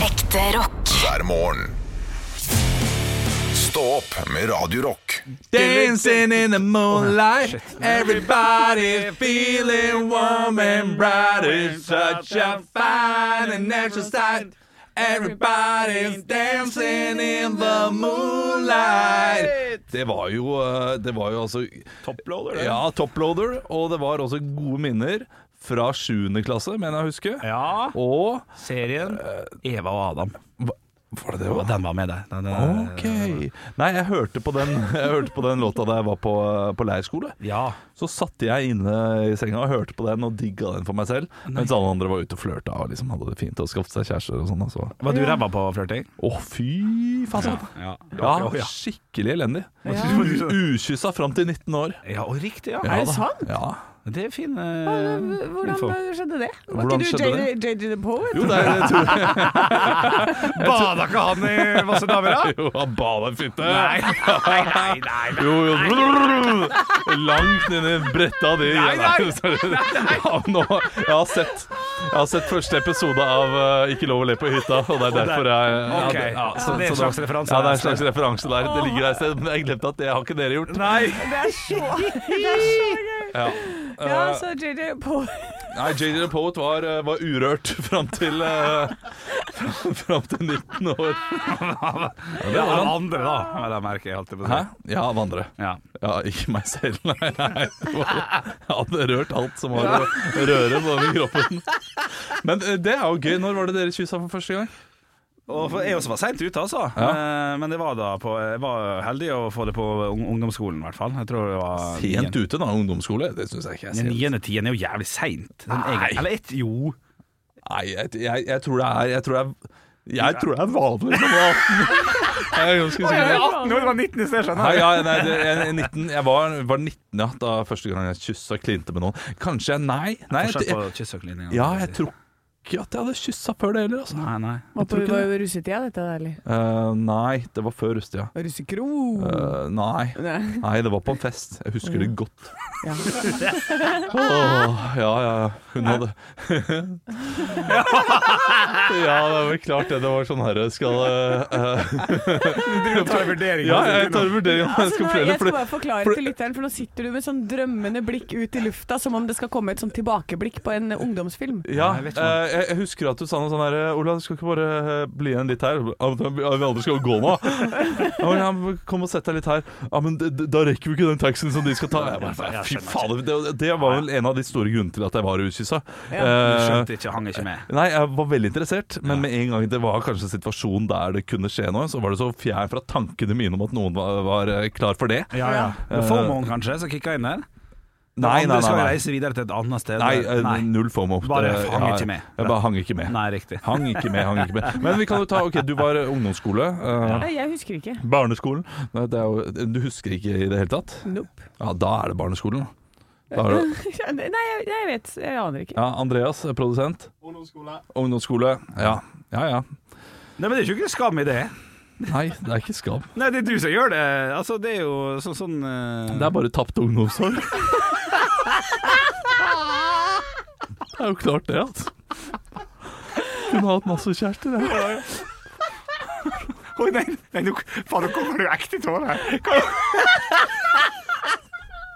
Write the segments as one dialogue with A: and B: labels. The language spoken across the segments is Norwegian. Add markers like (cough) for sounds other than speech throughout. A: Ekte rock.
B: hver morgen. Stå opp med Radio Rock.
C: Dancing in the moonlight, everybody feeling warm and bright. It's such a fine and natural sight. Everybody's dancing in the moonlight. Det var jo, eh, det var jo altså
D: Topploader, det.
C: Ja, toploader. Og det var også gode minner fra 7. klasse, mener jeg å huske.
D: Ja.
C: Og
D: Serien Eva og Adam.
C: hva, Var det det
D: Og
C: òg?
D: den var med der. Den, eh, den-
C: Ok. Nei, jeg hørte på den, (laughs) jeg hørte på den låta da jeg var på, eh, på leirskole.
D: Ja.
C: Så satt jeg inne i senga og hørte på den og digga den for meg selv. Mens alle andre var ute og flørta og liksom hadde det fint og skaffet seg kjærester og sånn. altså.
D: Var du ræva på flørting?
C: Å, fy fasan.
D: Ja.
C: Ja, skikkelig elendig. Ukyssa fram til 19 år.
D: Ja, og riktig, ja.
C: Ja,
E: det
C: da.
E: sant?
C: Ja.
D: Det er fin eh,
E: H- Hvordan skjedde det? Var
C: Hvordan
E: ikke
C: skjedde
E: du JJ the Poet?
C: Jo, det er jeg tror
D: Bada ikke han i masse damer, da?
C: Jo, han bada i fitte.
D: (laughs) Nei, (laughs) nei, nei. nei, nei.
C: Jo, jo. Langt nedi bretta di.
D: Nei,
C: (laughs)
D: nei,
C: Ja, nå, jeg, har sett, jeg har sett første episode av eh, Ikke lov å le på hytta, og det er derfor jeg ja,
D: Ok,
C: det- ja,
D: så det er en
C: da-
D: slags referanse
C: Ja, det
D: der.
C: er en slags referanse der. Det ligger der et sted, men jeg glemte at det har ikke dere gjort.
D: Nei.
E: Det er så, det er så gøy!
C: Ja. Eh,
E: Ja, så JJ Poet
C: Nei, JJ The Poet var, eh, var urørt fram til eh, (laughs) Fram til 19
D: (laughs)
C: år.
D: Det er han andre, da. Ja, det merker jeg alltid på
C: Hæ?
D: det.
C: Ja, av andre.
D: Ja.
C: Ja, ikke meg selv, nei. nei. Det var- Jeg hadde rørt alt som var å røre på den kroppen. Men eh, det er jo gøy. Når var det dere kyssa for første gang?
D: Og for jeg også var seint ute, altså. Eh, Men det var da på, jeg var heldig å få det på ung- ungdomsskolen, i hvert fall. Jeg tror det var
C: Sent ute, da. Ungdomsskole? Det syns jeg ikke er
D: Ja,
C: sent.
D: Niende tiende er jo jævlig seint. Sånn
C: Nei.
D: egentlig- Eller ett, jo.
C: Nei, jeg, jeg, jeg tror det er Jeg tror det er, jeg tror det er vanlig når man er 18. Jeg er ganske sikker. på det.
D: det var 19 i sted,
C: Nei, ja, nei, det, jeg, 19, jeg var, var 19 ja, da første gang jeg kyssa og klinte med noen. Kanskje jeg Nei. nei jeg,
D: Fortsatt
C: jeg,
D: på kysseklinikken.
C: ja, jeg tror ikke at jeg hadde kyssa før det heller, altså.
D: Nei, nei.
E: Måtte vi var jo russetida, dette, da, eller?
C: Eh, nei, det var før russetida.
E: Russekro!
C: Eh, nei.
E: Nei.
C: Nei, det var på en fest. Jeg husker det godt. (laughs)
E: Ja.
C: Åh, ja, ja. Hun hadde (laughs) Ja, det var klart det. Det var sånn herre skal eh,
D: Du tar vurderinga.
C: (laughs) Ja, jeg tar en vurdering om jeg
E: Altså,
C: skal
E: nå,
C: fortelle.
E: jeg skal
C: For det,
E: bare forklare
C: for-
E: til lytteren, for nå sitter du med sånn drømmende blikk ut i lufta, som om det skal komme et sånn tilbakeblikk på en ungdomsfilm.
C: ja,
D: Nei, jeg vet ikke om-
C: eh, jeg, jeg husker at du sa noe sånn herre Ola, du skal ikke bare eh, bli igjen litt her? Ja, men Vi andre skal jo gå nå. Ja, men, ja, men kom og sett deg litt her. Ja, men d- d- da rekker vi ikke den taxien som de skal ta. Jeg bare, Fy fader. Det, det var vel en av de store grunnene til at jeg var utkyssa. Eh,
D: Skjønte ikke, hang ikke med.
C: Nei, jeg var veldig interessert, men med en gang det var kanskje en situasjon der det kunne skje noe, så var det så fjern fra tankene mine om at noen var, var eh, klar for det.
D: Ja, ja. FOMO-en kanskje, som kicka inn der?
C: Eh, Nei, nei,
D: Andre skal
C: nei.
D: jo
C: Nei,
D: reise videre til et annet sted.
C: nei, eh,
D: nei.
C: null FOMO.
D: Bare
C: Det-
D: hang
C: ja,
D: ikke med.
C: Jeg bare hang ikke med.
D: Nei, riktig.
C: Hang ikke med, hang ikke med. Men vi kan jo ta OK, du var ungdomsskole. eh,
E: Nei, jeg husker ikke.
C: Barneskolen. Nei, Det er jo, eh, du husker ikke i det hele tatt?
E: Nope.
C: Ja, da er det barneskolen. Da er det,
E: (laughs) Nei, jeg, jeg vet. Jeg aner ikke.
C: ja, Andreas, produsent. Ungdomsskole. Ja. Ja ja.
D: Nei, men det er jo ikke noe skam i det.
C: Nei, det er ikke skam.
D: Nei, det er du som gjør det. Altså, det er jo sånn sånn eh,
C: Det er bare tapt
D: (laughs)
C: ungdomsår. Det er jo klart det, altså. Kunne hatt masse kjærester. jeg.
D: Oi, nei, nei nå, faen, nå kommer det jo ekte tårer. Hva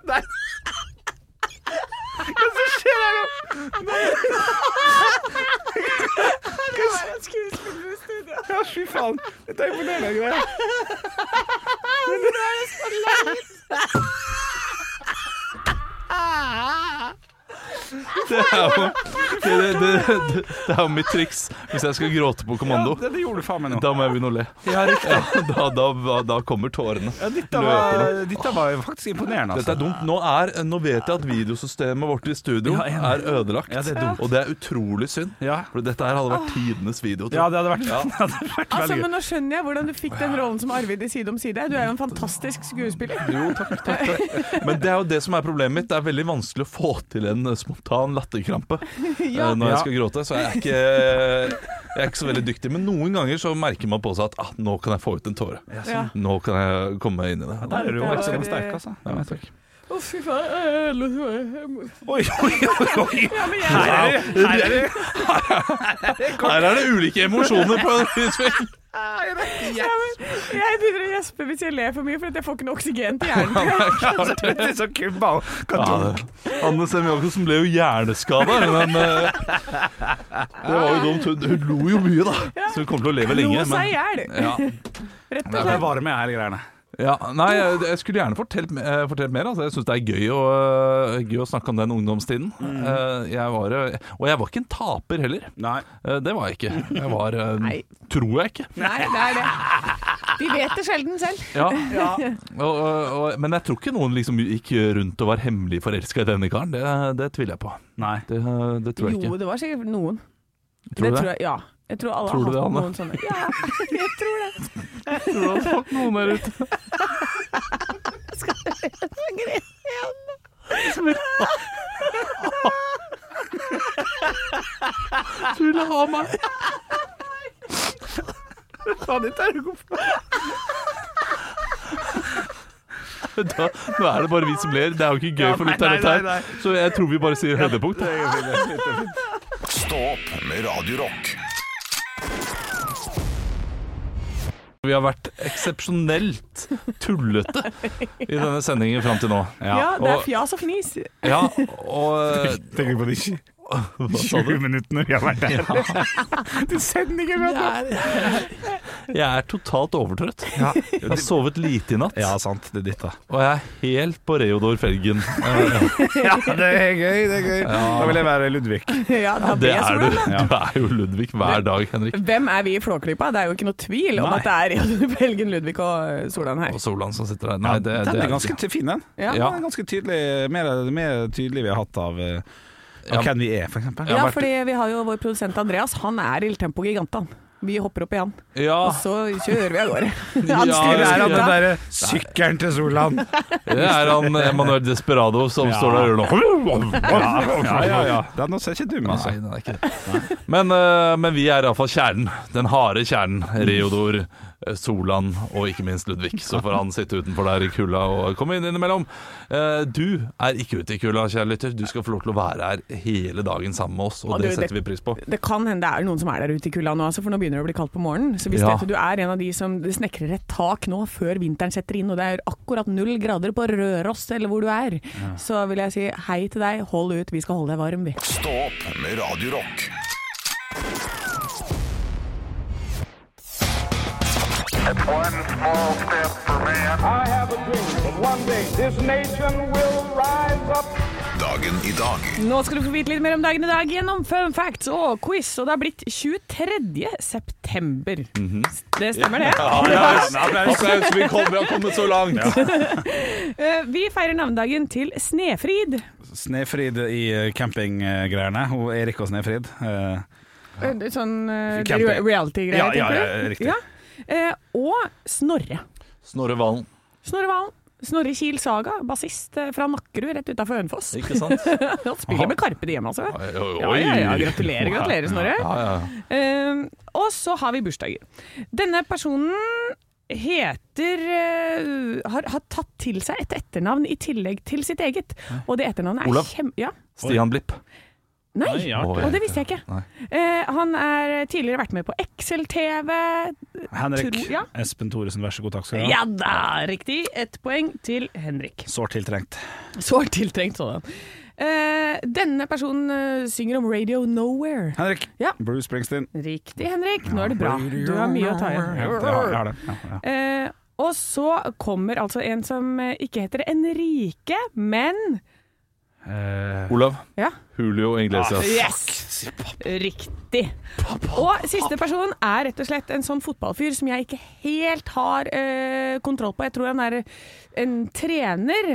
D: Nei. Hva som skjer her nå? Nei. Ja, fy faen. Dette er imponerende greier.
C: Det er jo det, det, det, det, det er jo mitt triks hvis jeg skal gråte på kommando.
D: Ja, det gjorde du faen meg nå.
C: Da må jeg begynne å le. Ja, da, da, da, da kommer tårene.
D: Ja, dette, var, dette var faktisk imponerende,
C: Dette
D: altså.
C: er dumt. Nå, er, nå vet jeg at videosystemet vårt i studio
D: Ja, jeg er
C: er ødelagt.
D: Ja, det er dumt.
C: Og det er utrolig synd.
D: Ja.
C: For dette her hadde vært tidenes video. tror
D: ja,
C: jeg.
D: det hadde vært, (laughs) det hadde vært
E: Altså,
D: veldig gøy.
E: men Nå skjønner jeg hvordan du fikk den rollen som Arvid i Side om side. Du er jo en fantastisk skuespiller.
C: Jo, takk, takk, takk. Men det er jo det som er problemet mitt. Det er veldig vanskelig å få til en eh, spontan latterkrampe
E: (laughs) Ja.
C: eh, når jeg
D: Ja.
C: skal gråte. Så jeg er, ikke, eh, jeg er ikke så veldig dyktig. Men noen ganger så merker man på seg at ah, nå kan jeg få ut en tåre.
E: Ja.
C: Nå kan jeg komme meg inn i det.
D: Der er du jo
E: Det
D: veldig
E: var-
D: sterk, altså.
C: Ja, takk.
E: Å, fy Eh, faen.
D: Oi, oi, oi, oi.
E: Ja, men jeg,
D: Her er det, her er det.
C: Her er det ulike emosjoner på utspill.
E: ja, men jeg begynner å gjespe hvis jeg ler for mye, for at jeg får ikke noe oksygen til hjernen.
D: (laughs) Det er så kubba.
C: Ja, det. Anne Sem-Jacobsen ble jo hjerneskada, men eh, det var jo dumt. Hun, hun lo jo mye, da, så hun kommer til å leve lenge.
E: Lo seg i
C: Men,
E: hjel,
C: ja.
E: rett og
D: Det er
E: slett.
D: varme her, greiene.
C: Ja, nei, jeg, jeg skulle gjerne fortalt, me- eh, fortalt mer. Altså. Jeg syns det er gøy å, eh, gøy å snakke om den ungdomstiden. Eh, Jeg var, eh, og jeg var ikke en taper heller.
D: Nei.
C: Eh, Det var jeg ikke. Jeg var eh,
E: Nei.
C: Tror jeg ikke.
E: Nei, det er det. De vet det sjelden selv.
C: Ja. Og, og, og, men jeg tror ikke noen liksom gikk rundt og var hemmelig forelska i denne karen. Det, det tviler jeg på.
D: Nei.
C: Det, det tror jeg
E: Jo,
C: ikke.
E: det var sikkert noen.
C: Tror du
E: det?
C: det?
E: Tror jeg, ja. Jeg tror alle
C: Tror du det,
E: har hatt
C: Anne?
E: noen
C: (laughs)
E: sånne. Ja, jeg tror det.
C: Tror du det var noen der ute? Du ville ha meg. Da, nå er det bare vi som ler. Det er jo ikke gøy for
D: nei,
C: lytterne,
D: nei,
C: dette
D: nei, nei.
C: her. Så jeg tror vi bare sier høydepunkt. da.
B: Stå opp med Radio Rock.
C: Vi har vært eksepsjonelt tullete i denne sendingen fram til nå.
E: Ja, det
C: og-
E: er fjas og fnis.
C: Ja, og eh,
D: Eh, Tenker på de sju-
C: Hva sa du?
D: 20 minuttene vi har vært her. Du sender ikke med
C: Jeg er totalt overtrøtt. Jeg har sovet lite i natt,
D: Ja, sant. Det er ditt, da.
C: og jeg er helt på Reodor Felgen. Eh,
D: Ja, det er gøy. det er gøy Da vil jeg være Ludvig.
E: (laughs) Ja, da
C: Det
E: ble jeg så
C: er
E: glad,
C: du.
E: da.
C: Du er jo Ludvig hver dag, Henrik.
E: Hvem er vi i Flåklypa? Det er jo ikke noe tvil om
D: Nei.
E: at det er Jan Belgen, Ludvig og eh, Solan her.
C: Og Solan som sitter der. Nei, det, det
D: den er
C: ikke-
D: ganske til- fin, den.
E: Ja.
C: Ja.
D: Den er ganske tydelig, mer, mer tydelig vi har hatt av, eh, av
C: Ja.
D: hvem vi er, for eksempel.
E: Ja, fordi vi har jo vår produsent Andreas. Han er Il Tempo Gigant, han. Vi hopper opp i han,
C: Ja,
E: og så kjører vi av gårde.
C: Ah. Ja,
E: Han
D: Det
E: styrer
D: er
E: skuta.
D: av den derre sykkelen til
C: (laughs)
D: Solan.
C: det er han Emanuel Desperado som
D: Ja.
C: står der og gjør noe.
D: Ja, ja, ja. Den også er ikke dum, altså.
C: Nei, den er ikke det. Men, eh, men vi er iallfall kjernen. Den harde kjernen. Reodor, eh, Solan og ikke minst Ludvig. Så får han sitte utenfor der i kulda og komme inn innimellom. Eh, Du er ikke ute i kulda, kjære lytter. Du skal få lov til å være her hele dagen sammen med oss, og
E: Og
C: det
E: du, det-
C: setter vi pris på.
E: Det kan hende det er noen som er der ute i kulda nå, altså, for nå begynner det å bli kaldt på morgenen. Så hvis
C: Ja.
E: dette- du er en av de som snekrer et tak nå før vinteren setter inn, og det er akkurat null grader på Røros eller hvor du er, så vil jeg si hei til deg, hold ut, vi skal holde deg varm, vi.
B: Stå opp med Radio Rock.
A: One small step for man. I have a dream that one day this nation will rise up.
B: Dagen i dag
E: Nå skal du få vite litt mer om dagen i dag gjennom fun facts og quiz, og det har blitt 23. september.
D: Mhm.
E: Det stemmer
D: (laughs)
E: det?
C: Applaus! Vi kom- vi har kommet så langt!
E: Eh, Vi feirer navnedagen til Snefrid.
D: Snefrid i eh, campinggreiene. Hun Erik og Snefrid. eh,
E: Eh, det er Sånn eh,
D: Camping.
E: re- reality-greier,
D: Ja, ja,
E: tenker
D: ja,
E: du?
D: riktig.
E: Ja. Eh, Og Snorre.
C: Snorre Valen.
E: Snorre Valen. Snorre Kiel Saga, bassist eh, fra Nakkerud rett utafor Hønefoss.
C: Ikke sant?
E: Han spiller med Karpe Diem, altså.
C: Oi, oi,
E: (laughs) Ja,
C: oi.
E: ja, ja. Gratulerer, gratulerer, Snorre.
C: Ja, (laughs) ja.
E: Eh, og så har vi bursdager. Denne personen heter eh, har, har tatt til seg et etternavn i tillegg til sitt eget. Og det etternavnet
C: Olav?
E: er kjem... Ja.
C: Stian Blipp.
E: Nei!
D: Oi, artig.
E: Og det visste jeg ikke.
C: Nei.
E: Eh, han er tidligere vært med på Excel-TV.
D: Henrik
E: Tror- ja.
D: Espen Thoresen, vær så god, takk skal du ha.
E: Ja da, riktig. Ett poeng til Henrik.
D: Sårt tiltrengt.
E: (laughs) Sårt tiltrengt sådan. Eh, denne personen eh, synger om Radio Nowhere.
D: Henrik.
E: Ja.
D: Bruce Springsteen.
E: Riktig, Henrik. Nå er det bra. Du har mye å
D: Ja,
E: ta
D: det har, jeg
E: igjen.
D: har det. Ja, ja.
E: Eh, og så kommer altså en som eh, ikke heter Enrique, men
D: Eh,
C: Olav.
E: Ja.
C: Julio Iglesias.
E: Yes! Riktig. Og siste person er rett og slett en sånn fotballfyr som jeg ikke helt har eh, kontroll på. Jeg tror han er en trener.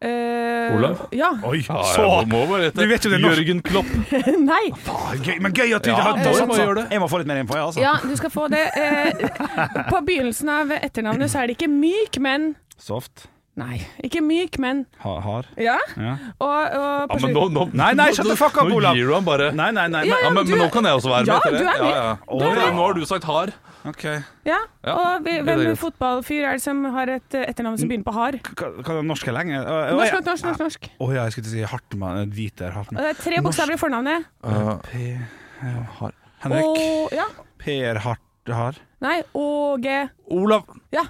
E: Eh,
C: Olav?
E: Ja.
D: Oi,
C: Ja,
D: så
C: jeg må, må bare
D: Du vet jo det er norsk.
C: Jørgen Klopp.
E: (laughs) Nei.
D: Ah, gøy, Men gøy at du
C: Ja,
D: ikke har
C: må
D: sånn,
C: jo
D: sånn.
C: gjøre det.
D: Jeg må få litt mer info, jeg, altså.
E: Ja, du skal få det. Eh, på begynnelsen av etternavnet så er det ikke myk, men
D: Soft.
E: Nei, ikke myk, men
D: Ha, hard?
E: Ja.
D: Ja.
E: Og, og
C: Ja, men nå, nå,
D: Nei, nei, shut the fuck up, Olav.
C: Nå gir du ham bare
D: Nei, nei, nei.
E: Ja,
D: nei.
C: Ja, men,
E: du-
C: men nå kan jeg også være
E: Ja,
C: med. til det.
E: du er med.
C: Å,
E: Du er
C: ja,
E: med.
C: nå har du sagt hard.
D: Ok.
E: Ja,
C: Ja.
E: og
C: Ja, det
E: vi-
C: er
E: hvem
C: greit.
E: fotballfyr er det som har et eh, etternavn som begynner på har?
D: Hva hva er det, norsk eller lenge?
E: Norsk, norsk, norsk. norsk, norsk.
D: Å ja, jeg skulle til å si Hartmann. Hviter
E: Og
D: Hartmann.
E: det er tre bokstaver i fornavnet.
D: P...
C: Hard.
D: Henrik.
E: Og ja.
D: Per Hart... Har.
E: Nei, Åge
C: Olav
E: Ja.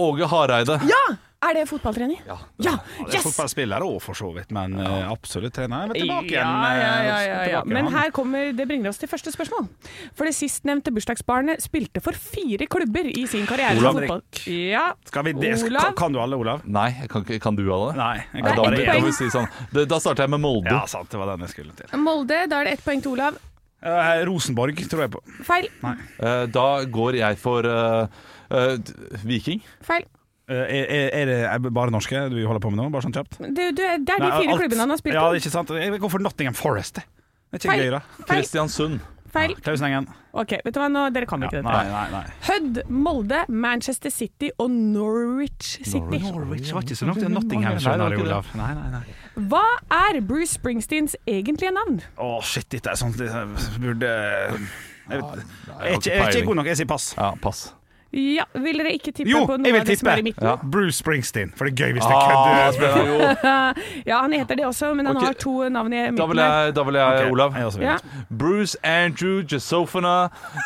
C: Åge Hareide.
E: Ja! Er det fotballtrener? Ja.
D: Det er
E: Yes!
D: fotballspillere òg, for så vidt, men eh, absolutt trener. Jeg vil tilbake igjen.
E: Ja, ja,
D: eh,
E: ja, ja, ja.
D: tilbake
E: Men
D: igjen.
E: her kommer, det bringer oss til første spørsmål. For det sistnevnte bursdagsbarnet spilte for fire klubber i sin karriere. som
D: Olav
E: fotball- Ja.
D: Skal vi det?
E: Olav?
D: Kan- Kan du alle, Olav?
C: Nei, jeg kan, ikke- kan du alle?
D: Nei. Jeg
E: Nei,
D: kan
C: Da,
E: ett
D: bare
C: blir- da,
E: poeng.
D: én.
C: må vi si sånn. Det- da starter jeg med Molde.
D: Ja, sant. Det var den jeg skulle til.
E: Molde, da er det ett poeng til Olav.
D: Eh, Rosenborg tror jeg på.
E: Feil.
C: Eh, Da går jeg for eh, eh, Viking.
E: Feil.
D: Eh, er, er- er det er det bare norske du holder på med nå? Bare sånn kjapt?
E: Du, du, det er de
D: Nei,
E: fire
D: alt-
E: klubbene han har spilt
D: Ja,
E: for.
D: ikke sant. Jeg går for Nottingham Forest. jeg. Det er ikke
E: Feil.
D: gøy, da.
E: Feil.
C: Kristiansund.
E: Feil.
D: Klaus Engen.
E: Ok, vet du hva, nå, dere kan
D: Ja,
E: ikke dette.
D: nei, nei, nei.
E: Hødd, Molde, Manchester City og Norwich City.
D: Norwich var ikke så langt unna Nottingham, skjønner du, Olav. Nei, nei, nei.
E: Hva er Bruce Springsteens egentlige navn?
D: Å, shit, dette er sånt jeg burde Jeg vet Jeg er ikke, jeg er ikke
C: peiling.
D: god nok, jeg sier pass.
C: Ja, pass.
E: Ja, Vil dere ikke tippe
D: Jo,
E: på
D: jeg
E: noe
D: vil
E: av det som
D: tippe!
E: er i midten?
D: Ja. Bruce Springsteen, for det er gøy hvis det
C: Ah,
D: er kødd.
C: spennende. jo.
E: Ja, han heter det også, men han
C: Ok.
E: har to navn i midten.
C: Da vil jeg, da vil jeg eh,
D: Ok,
C: Olav.
D: jeg også vil.
E: her. Ja.
C: Bruce Andrew Jesofana.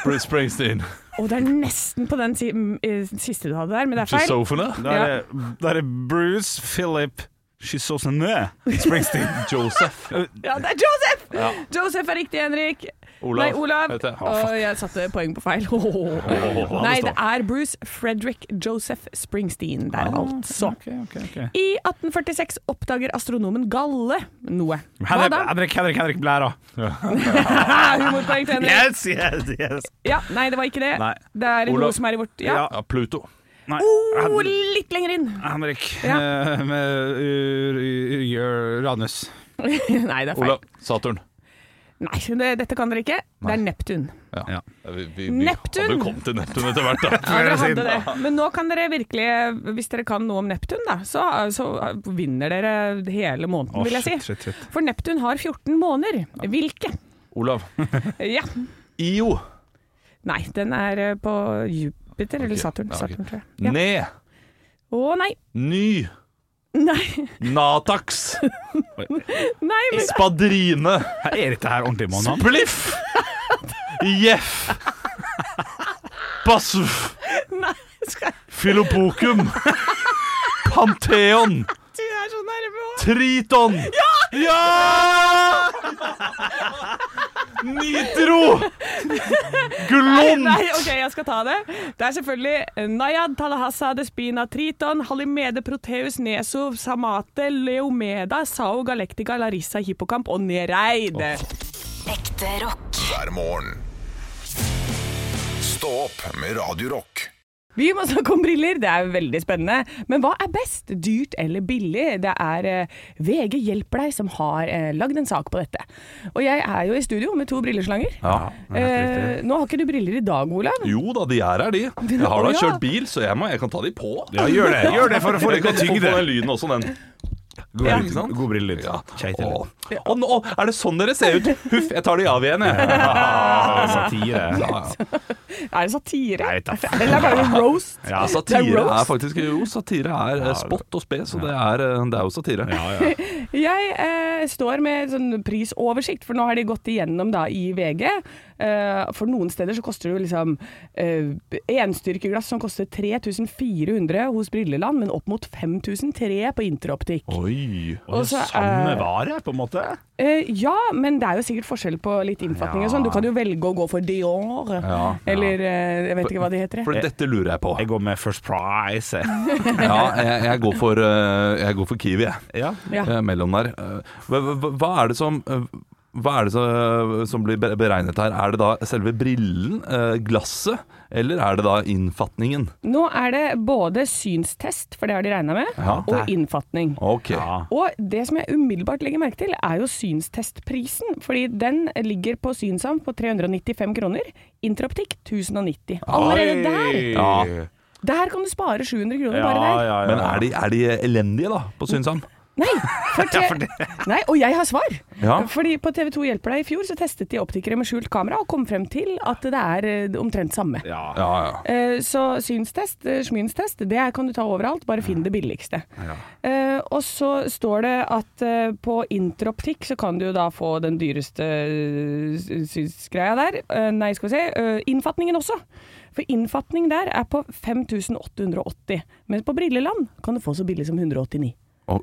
C: Bruce Springsteen.
E: Og det er nesten på den si m- eh, siste du hadde der, men det er feil.
C: Jesofana?
D: Da er, det, da er det Bruce Philip Schissosene
E: (laughs)
D: Springsteen.
C: Joseph.
E: Ja, det er Joseph!
C: Ja.
E: Joseph er riktig, Henrik.
C: Olav.
E: Nei, Olav.
C: heter jeg.
E: Og jeg satte poeng på feil. Nei, det er Bruce Frederick Joseph Springsteen der,
C: Ah.
E: altså. I 1846 oppdager astronomen Galle noe. Hva
D: Henrik,
E: da?
D: Henrik, Henrik, Henrik Blæra.
E: Ah, (laughs) Humorpoeng til Henrik.
D: Yes, yes, yes.
E: Ja, nei, det var ikke det.
D: Nei.
E: Det er
C: Olav.
E: noe som er i vårt Ja.
C: Ja, Pluto.
D: Nei.
E: Oh,
D: Hen-
E: litt lenger inn. (laughs)
D: Henrik
E: Ja.
D: eh, med Ur- Ur- Uranus.
E: Nei, det er feil.
C: Olav. Saturn.
E: Nei, det, dette kan dere ikke. Det er Neptun.
D: Ja.
C: Vi, vi, vi
E: Neptun.
C: hadde kommet til Neptun etter hvert, da.
E: Ja, dere
D: Før
E: hadde
D: eller
E: det. Men nå kan dere virkelig, hvis dere kan noe om Neptun, da, så, så vinner dere hele måneden,
D: Å,
E: vil jeg
D: shit,
E: si.
D: shit, shit.
E: For Neptun har 14 måneder. Hvilke?
C: (laughs) Olav.
E: Ja.
C: IO.
E: Nei, den er eh, på Jupiter eller
C: Ok.
E: Saturn.
C: Ja, ok.
E: Saturn tror jeg. Ja.
C: Ned.
E: Å nei.
C: Ny.
E: Nei,
C: Natax.
E: nei men
C: Spadrine.
D: Her Er dette her ordentlig måned?
C: Spliff. Jeff. Bassuf.
E: nei, (laughs) skal jeg-
C: Filopokum. Pantheon.
E: Du er så nærme òg.
C: Triton. Ja! ja! Nitro. Glom.
E: Nei, OK, jeg skal ta det. Det er selvfølgelig eh, Nayad, Talahassa, Despina, Triton, Halimede, Proteus, Neso, Samate, Leomeda, Sao, Galactica, Larissa, Hippocamp og Nereid.
F: Ekte rock.
B: hver morgen. Stå opp med Radio Rock.
E: Vi må snakke om briller, det er veldig spennende. Men hva er best, dyrt eller billig? Det er eh, VG hjelper deg som har eh, lagd en sak på dette. Og jeg er jo i studio med to brilleslanger. Eh, nå har ikke du briller i dag, Olav.
C: Jo da, de er her, de. Jeg har da kjørt bil, så jeg, må, jeg kan ta de på.
D: Ja, gjør det, gjør det for å
C: (laughs)
D: få
C: Jeg
D: litt
C: kan få på
D: tyngde.
C: den lyden også, den.
D: God,
C: Ja.
D: lyd, god brillelyd.
C: Ja.
D: Kjeitel.
C: Å, å, nå- er det sånn dere ser ut? Huff, jeg tar de av igjen, jeg. (laughs)
D: Ah,
E: (laughs)
D: satire.
E: Er det satire?
D: Jeg vet da faen.
E: Eller er det bare roast?
D: Ja,
C: Ja,
E: Det er
C: satire
E: roast.
C: er faktisk Jo, satire er eh, spott og spe, så det er, eh, det er jo satire.
D: ja, ja.
E: Jeg eh, står med sånn prisoversikt, for nå har de gått igjennom da i VG. Eh, for noen steder så koster det jo liksom eh, enstyrkeglass som koster 3400 hos Brilleland, men opp mot 5003 på interoptikk.
C: Oi.
D: Og
E: Og så,
D: samme
E: eh,
D: vare, på en måte?
E: Eh, ja, men det er jo sikkert forskjell på litt innfatning og sånn. Du kan jo velge å gå for Dior,
C: Ja.
E: eller eh, jeg vet ikke hva de heter. jeg.
C: For dette lurer jeg på.
D: Jeg går med First Price.
E: (laughs)
D: jeg.
C: Ja, jeg, jeg, går, for, eh, jeg går for Kiwi, jeg.
D: Ja.
E: Ja.
C: Eh, Mellom der. Eh, Hva, hva, hva er det som eh, hva er det så, som blir be- beregnet her? Er det da selve brillen, eh, glasset, eller er det da innfatningen?
E: Nå er det både synstest, for det har de regna med,
C: Ja,
E: og
D: der.
E: innfatning.
C: Ok.
D: Ja.
E: Og det som jeg umiddelbart legger merke til, er jo synstestprisen. Fordi den ligger på Synsam på 395 kroner. Interoptikk 1090. Allerede der!
C: Ja.
E: Der kan du spare 700 kroner
D: Ja,
E: bare
D: ja,
E: der.
D: ja.
C: Men er de, er de elendige, da, på Synsam?
E: Nei,
D: (laughs)
E: fortell- Nei, og jeg har svar.
C: Ja.
E: Fordi på TV 2 Hjelper deg i fjor så testet de optikere med skjult kamera og kom frem til at det er eh, omtrent samme.
D: Ja.
C: Ja, ja.
E: Eh, Så synstest, eh, sminstest, det er- kan du ta overalt, bare finn det billigste. Eh, Og så står det at eh, på interoptikk så kan du jo da få den dyreste eh, synsgreia der. Eh, Nei, skal vi se. eh, Innfatningen også. For innfatning der er på 5880, mens på Brilleland kan du få så billig som 189.
C: Å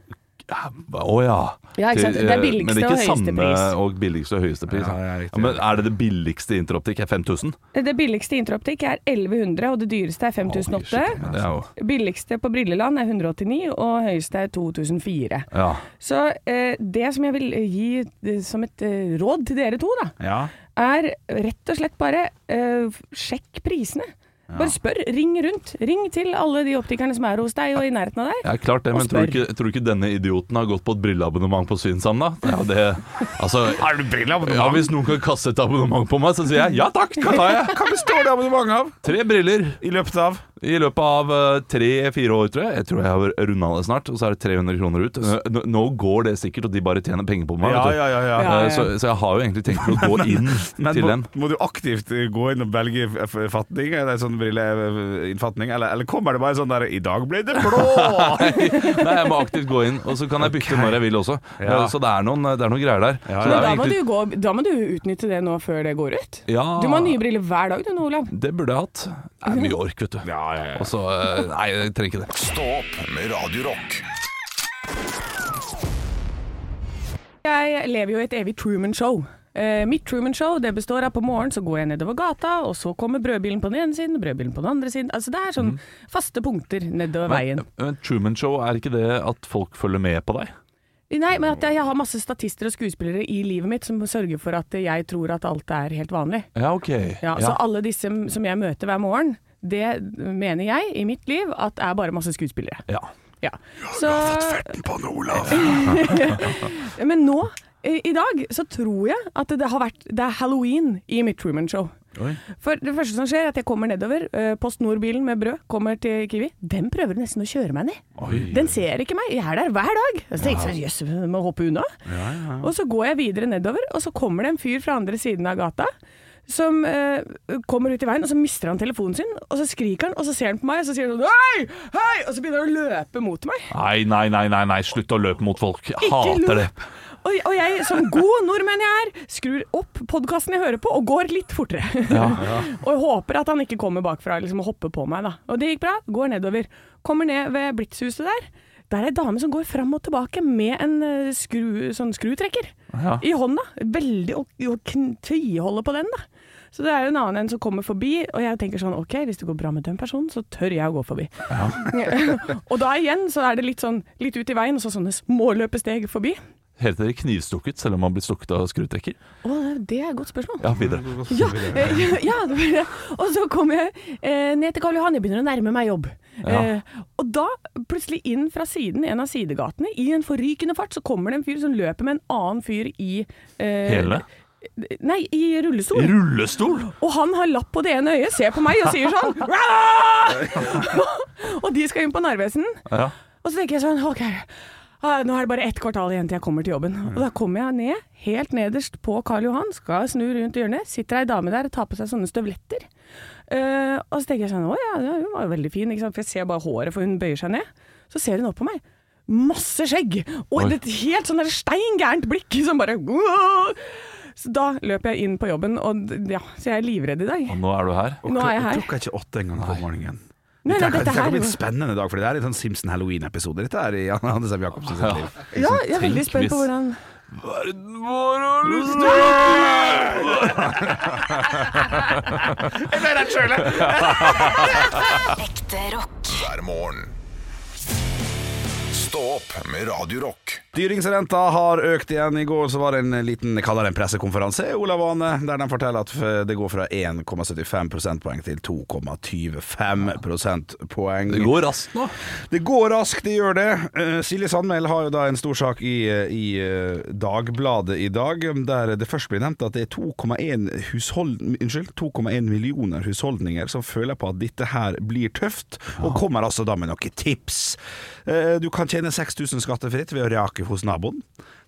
C: ja, å, ja.
E: Ja, ikke sant? Det er
C: eh,
E: billigste
C: men det er ikke
E: og høyeste
C: samme
E: pris.
C: Og billigste og høyeste pris.
D: Ja,
C: ja.
D: ja, riktig.
C: Ja, men er det det billigste interoptikk? Er 5000?
E: Eh, Det billigste i interoptikk er 1100, og det dyreste er 5008.
C: Det er jo
E: Billigste på Brilleland er 189, og høyeste er 2004.
C: Ja.
E: Så eh, det som jeg vil gi eh, som et eh, råd til dere to, da,
D: ja.
E: er rett og slett bare eh, sjekk prisene. Bare spør. Ring rundt. Ring til alle de optikerne som er hos deg og i nærheten av deg.
C: ja, klart det,
E: Og
C: men tror du,
E: spør.
C: ikke, tror du ikke denne idioten har gått på et brilleabonnement på Synsam, da? Det er jo det, altså,
D: Har du brilleabonnement?
C: ja, Hvis noen kan kaste et abonnement på meg, så sier jeg ja takk, det tar jeg.
D: Hva består det abonnementet av?
C: Tre briller
D: I løpet av
C: i løpet av tre-fire år, tror jeg. Jeg tror jeg har runda det snart, og så er det 300 kroner ut. Nå, nå går det sikkert, og de bare tjener penger på meg.
D: Ja,
C: vet du.
D: ja, ja. ja.
E: Ja, ja.
C: Eh, Så, så jeg har jo egentlig tenkt å gå inn
D: (laughs) Men
C: til
D: må,
C: dem. (laughs)
D: må du aktivt eh, gå inn og velge f- f- fatning? Er det sånn brilleinnfatning? Eller, eller kommer det bare sånn der 'I dag ble det (laughs) blå'?
C: Nei, jeg må aktivt gå inn, og så kan jeg bytte når jeg vil også.
D: Ja.
C: Eh, Så det er noen, det er noen greier der.
D: Ja,
C: Så
E: Men
C: det er
E: da
C: jo
E: må, du
C: egentlig-
E: jo gå, da må du utnytte det nå før det går ut.
C: Ja.
E: Du må ha nye briller hver dag du nå, Olav.
C: Det burde jeg hatt. Det er mye ork, vet du.
D: Ja, ja, ja.
C: Og så eh, Nei, jeg trenger ikke det.
B: Stå opp med Radio Rock.
E: Jeg lever jo i et evig Truman-show. Eh, mitt Truman-show det består av på morgenen så går jeg nedover gata, og så kommer brødbilen på den ene siden, brødbilen på den andre siden. Altså Det er sånn faste punkter nedover veien.
C: Mhm. Men Truman Show, er ikke det at folk følger med på deg?
E: Nei, men at jeg har masse statister og skuespillere i livet mitt som sørger for at jeg tror at alt er helt vanlig.
C: Ja, ok.
E: Ja, Så alle disse som jeg møter hver morgen, det mener jeg i mitt liv at er bare masse skuespillere.
C: ja.
E: Ja. Så,
C: På Olav.
E: men nå, eh, i dag, så tror jeg at det har vært Det er halloween i mitt Truman-show. For det første som skjer er at jeg kommer nedover, eh, Post Nord-bilen med brød kommer til Kiwi. Den prøver nesten å kjøre meg ned. Den ser ikke meg, jeg er der hver dag. Så tenkte jeg jøss, jeg må hoppe unna. Og så går jeg videre nedover, og så kommer det en fyr fra andre siden av gata. Som eh, kommer ut i veien, og så mister han telefonen sin. Og så skriker han, og så ser han på meg, og så sier han sånn Hei! Hei! Og så begynner han å løpe mot meg.
C: Nei, nei, nei, nei, nei, slutt å løpe mot folk. Jeg
E: Ikke
C: hater
E: lov.
C: det.
E: Og, og jeg, som god nordmenn jeg er, skrur opp podkasten jeg hører på, og går litt fortere. (laughs) og jeg håper at han ikke kommer bakfra liksom, og hopper på meg. Da. Og det gikk bra. Går nedover. Kommer ned ved Blitzhuset der. Der er ei dame som går fram og tilbake med en eh, skru, sånn skrutrekker
C: Ja.
E: i hånda. Veldig å, å kn- tviholde på den, da. Så det er jo en annen en som kommer forbi, og jeg tenker sånn OK, hvis det går bra med den personen, så tør jeg å gå forbi. (laughs) og da igjen så er det litt sånn litt ut i veien, og så sånne småløpesteg forbi.
C: Heter det knivstukket selv om man blir stukket av skrutrekker?
E: Å, det er et godt spørsmål.
C: Ja, videre.
E: Ja, eh, ja, det var det. Og så kommer jeg eh, ned til Karl Johan, jeg begynner å nærme meg jobb. Eh, og da, plutselig inn fra siden, en av sidegatene, i en forrykende fart, så kommer det en fyr som løper med en annen fyr i eh,
C: Hele?
E: Nei, i rullestol.
C: I rullestol?
E: Og han har lapp på det ene øyet, ser på meg og
C: (laughs)
E: sier sånn «Aah!» (laughs) Og de skal inn på Narvesen.
C: Ja.
E: Og så tenker jeg sånn OK, ah, nå er det bare ett kvartal igjen til jeg kommer til jobben. Og da kommer jeg ned, helt nederst på Karl Johan, skal snu rundt hjørnet. Sitter ei dame der og tar på seg sånne støvletter. Eh, og så tenker jeg sånn Å ja, ja, hun var jo veldig fin, ikke sant? for jeg ser bare håret, for hun bøyer seg ned. Så ser hun opp på meg. Masse skjegg! Og et helt sånn der steingærent blikk som bare «Wow!» Så da løper jeg inn på jobben, og d- ja, så jeg er livredd i dag.
C: Og nå er du her.
E: Nå er jeg her.
D: Klokka er ikke åtte engang på morgenen.
E: Nei, nei,
D: Tenk at
E: dette
D: det kan
E: her
D: bli en
E: er jo-
D: spennende dag, for det er litt sånn Simpson-halloween-episode. Dette er i Anne Anders M. Jacobsen sitt liv.
E: Ja, jeg er veldig
C: tenk
E: spent
C: hvis-
E: på hvordan
C: Verden vår har lyst til å
F: Ekte rock.
B: hver morgen. Stå opp Stå opp med Radio Rock.
D: Styringsrenta har økt igjen. I går så var det en liten kall det en pressekonferanse i Olav Ane, der de forteller at f- det går fra 1,75 prosentpoeng til 2,25 prosentpoeng.
C: Det går raskt nå.
D: Det går raskt, det gjør det. Eh, Silje Sandmæl har jo da en stor sak i, eh, i eh, Dagbladet i dag, der det først blir nevnt at det er 2,1 hushold- unnskyld, 2,1 millioner husholdninger som føler på at dette her blir tøft, og kommer altså da med noen tips. Eh, Du kan tjene 6000 skattefritt ved å rake hos naboen.